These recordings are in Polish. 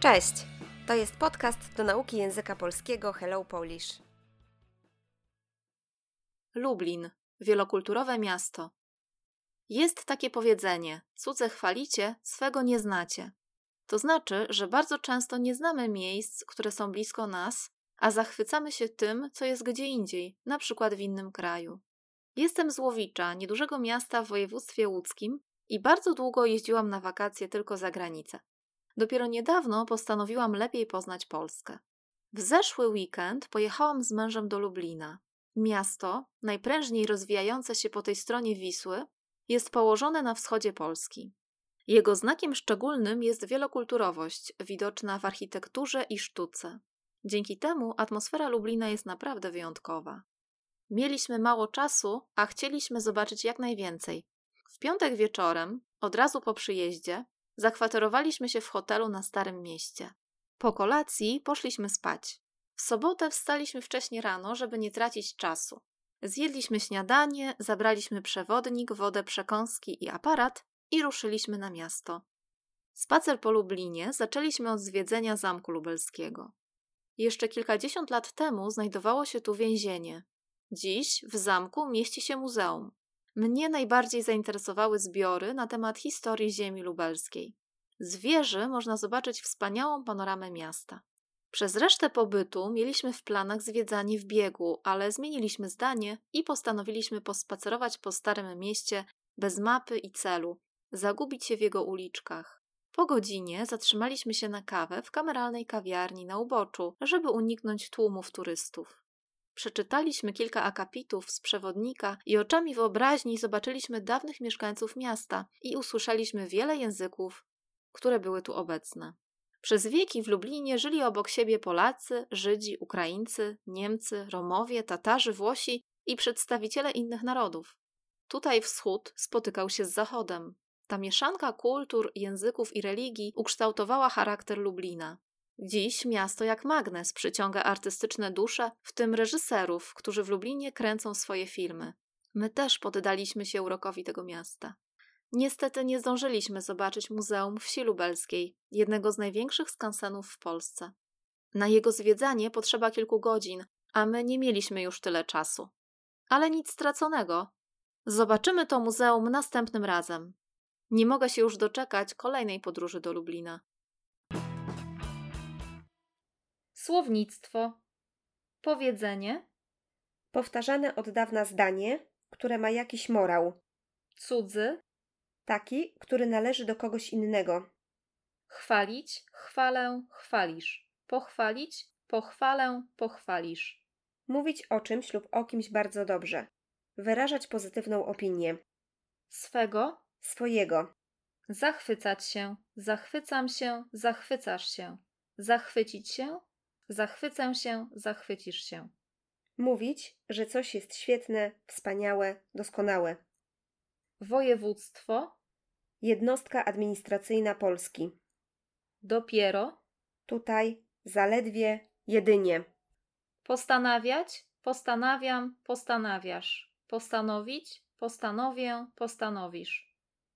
Cześć! To jest podcast do nauki języka polskiego Hello Polish. Lublin wielokulturowe miasto. Jest takie powiedzenie: cudze chwalicie, swego nie znacie. To znaczy, że bardzo często nie znamy miejsc, które są blisko nas, a zachwycamy się tym, co jest gdzie indziej, na przykład w innym kraju. Jestem z Łowicza, niedużego miasta w województwie łódzkim i bardzo długo jeździłam na wakacje tylko za granicę. Dopiero niedawno postanowiłam lepiej poznać Polskę. W zeszły weekend pojechałam z mężem do Lublina, Miasto, najprężniej rozwijające się po tej stronie Wisły, jest położone na wschodzie Polski. Jego znakiem szczególnym jest wielokulturowość, widoczna w architekturze i sztuce. Dzięki temu atmosfera Lublina jest naprawdę wyjątkowa. Mieliśmy mało czasu, a chcieliśmy zobaczyć jak najwięcej. W piątek wieczorem, od razu po przyjeździe, zakwaterowaliśmy się w hotelu na Starym Mieście. Po kolacji poszliśmy spać. W sobotę wstaliśmy wcześnie rano, żeby nie tracić czasu. Zjedliśmy śniadanie, zabraliśmy przewodnik, wodę, przekąski i aparat i ruszyliśmy na miasto. Spacer po Lublinie zaczęliśmy od zwiedzenia Zamku Lubelskiego. Jeszcze kilkadziesiąt lat temu znajdowało się tu więzienie. Dziś w zamku mieści się muzeum. Mnie najbardziej zainteresowały zbiory na temat historii ziemi lubelskiej. Z wieży można zobaczyć wspaniałą panoramę miasta. Przez resztę pobytu mieliśmy w planach zwiedzanie w biegu, ale zmieniliśmy zdanie i postanowiliśmy pospacerować po starym mieście bez mapy i celu, zagubić się w jego uliczkach. Po godzinie zatrzymaliśmy się na kawę w kameralnej kawiarni na uboczu, żeby uniknąć tłumów turystów. Przeczytaliśmy kilka akapitów z przewodnika i oczami wyobraźni zobaczyliśmy dawnych mieszkańców miasta i usłyszeliśmy wiele języków, które były tu obecne. Przez wieki w Lublinie żyli obok siebie Polacy, Żydzi, Ukraińcy, Niemcy, Romowie, Tatarzy, Włosi i przedstawiciele innych narodów. Tutaj wschód spotykał się z zachodem. Ta mieszanka kultur, języków i religii ukształtowała charakter Lublina. Dziś miasto jak magnes przyciąga artystyczne dusze, w tym reżyserów, którzy w Lublinie kręcą swoje filmy. My też poddaliśmy się urokowi tego miasta. Niestety nie zdążyliśmy zobaczyć Muzeum Wsi Lubelskiej, jednego z największych skansenów w Polsce. Na jego zwiedzanie potrzeba kilku godzin, a my nie mieliśmy już tyle czasu. Ale nic straconego. Zobaczymy to muzeum następnym razem. Nie mogę się już doczekać kolejnej podróży do Lublina. Słownictwo. Powiedzenie. Powtarzane od dawna zdanie, które ma jakiś morał, Cudzy. taki, który należy do kogoś innego. Chwalić, chwalę, chwalisz. Pochwalić, pochwalę, pochwalisz. Mówić o czymś lub o kimś bardzo dobrze. Wyrażać pozytywną opinię. Swego. Swojego. Zachwycać się, zachwycam się, zachwycasz się. Zachwycić się, zachwycę się, zachwycisz się. Mówić, że coś jest świetne, wspaniałe, doskonałe. Województwo. Jednostka administracyjna Polski. Dopiero. Tutaj zaledwie, jedynie. Postanawiać, postanawiam, postanawiasz. Postanowić, postanowię, postanowisz.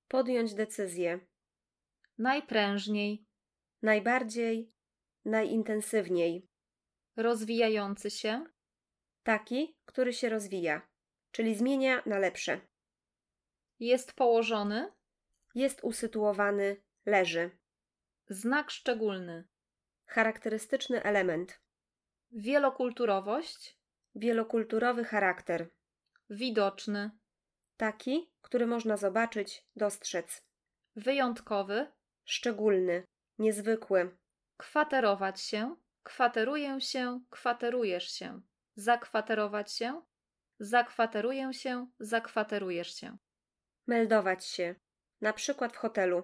Podjąć decyzję. Najprężniej. Najbardziej, najintensywniej. Rozwijający się. Taki, który się rozwija, czyli zmienia na lepsze. Jest położony. Jest usytuowany, leży. Znak szczególny. Charakterystyczny element. Wielokulturowość. Wielokulturowy charakter. Widoczny. Taki, który można zobaczyć, dostrzec. Wyjątkowy. Szczególny, niezwykły. Kwaterować się, kwateruję się, kwaterujesz się. Zakwaterować się, zakwateruję się, zakwaterujesz się. Meldować się. Na przykład w hotelu.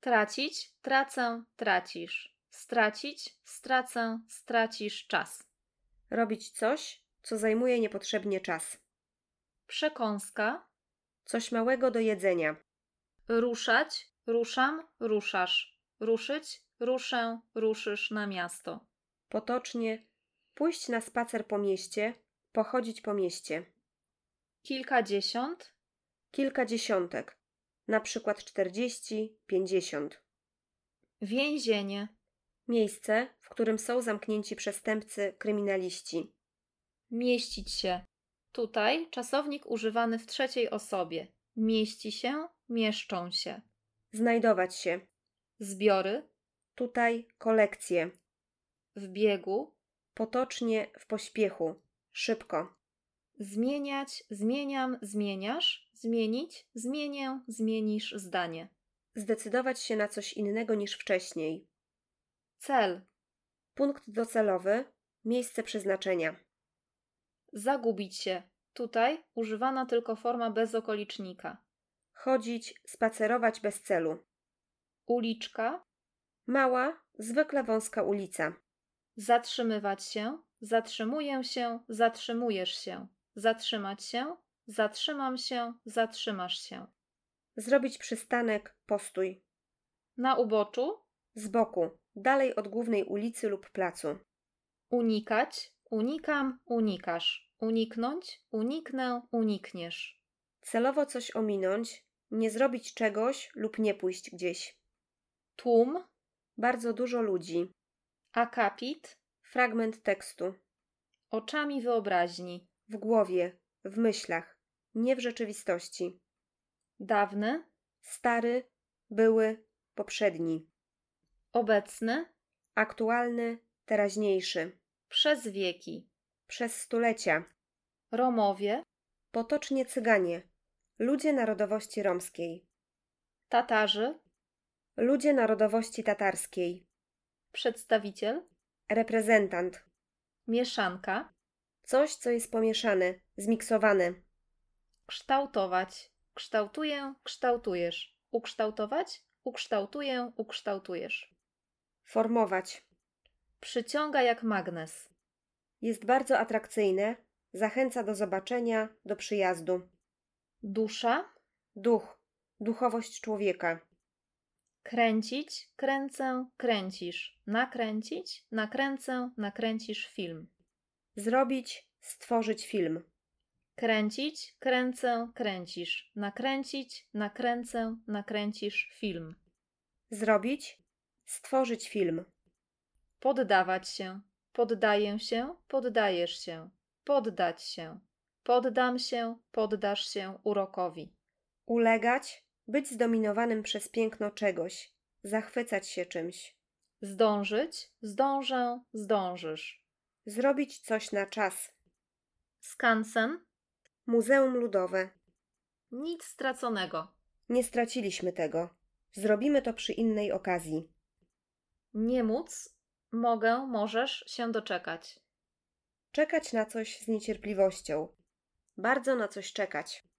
Tracić, tracę, tracisz. Stracić, stracę, stracisz czas. Robić coś, co zajmuje niepotrzebnie czas. Przekąska. Coś małego do jedzenia. Ruszać, ruszam, ruszasz. Ruszyć, ruszę, ruszysz na miasto. Potocznie pójść na spacer po mieście, pochodzić po mieście. Kilkadziesiąt. Kilka dziesiątek, na przykład 40, 50. Więzienie. Miejsce, w którym są zamknięci przestępcy, kryminaliści. Mieścić się. Tutaj czasownik używany w trzeciej osobie. Mieści się, mieszczą się. Znajdować się. Zbiory Tutaj kolekcje. w biegu. Potocznie w pośpiechu. Szybko. Zmieniać, zmieniam, zmieniasz. Zmienić, zmienię, zmienisz zdanie. Zdecydować się na coś innego niż wcześniej. Cel. Punkt docelowy. Miejsce przeznaczenia. Zagubić się. Tutaj używana tylko forma bez okolicznika. Chodzić, spacerować bez celu. Uliczka. Mała, zwykle wąska ulica. Zatrzymywać się. Zatrzymuję się. Zatrzymujesz się. Zatrzymać się. Zatrzymam się. Zatrzymasz się. Zrobić przystanek, postój. Na uboczu. Z boku, dalej od głównej ulicy lub placu. Unikać. Unikam. Unikasz. Uniknąć. Uniknę. Unikniesz. Celowo coś ominąć, nie zrobić czegoś lub nie pójść gdzieś. Tłum. Bardzo dużo ludzi. Akapit. Fragment tekstu. Oczami wyobraźni. W głowie, w myślach, nie w rzeczywistości. Dawny. Stary, były, poprzedni. Obecny. Aktualny, teraźniejszy. Przez wieki. Przez stulecia. Romowie. Potocznie Cyganie. Ludzie narodowości romskiej. Tatarzy. Ludzie narodowości tatarskiej. Przedstawiciel. Reprezentant. Mieszanka. Coś, co jest pomieszane, zmiksowane. Kształtować. Kształtuję. Kształtujesz. Ukształtować. Ukształtuję. Ukształtujesz. Formować. Przyciąga jak magnes. Jest bardzo atrakcyjne, zachęca do zobaczenia, do przyjazdu. Dusza. Duch, duchowość człowieka. Kręcić, kręcę, kręcisz. Nakręcić, nakręcę, nakręcisz film. Zrobić, stworzyć film. Kręcić, kręcę, kręcisz. Nakręcić, nakręcę, nakręcisz film. Zrobić, stworzyć film. Poddawać się. Poddaję się, poddajesz się. Poddać się. Poddam się, poddasz się urokowi. Ulegać, być zdominowanym przez piękno czegoś, zachwycać się czymś. Zdążyć, zdążę, zdążysz. Zrobić coś na czas. Skansen? Muzeum Ludowe. Nic straconego. Nie straciliśmy tego. Zrobimy to przy innej okazji. Nie móc, mogę, możesz się doczekać. Czekać na coś z niecierpliwością. Bardzo na coś czekać.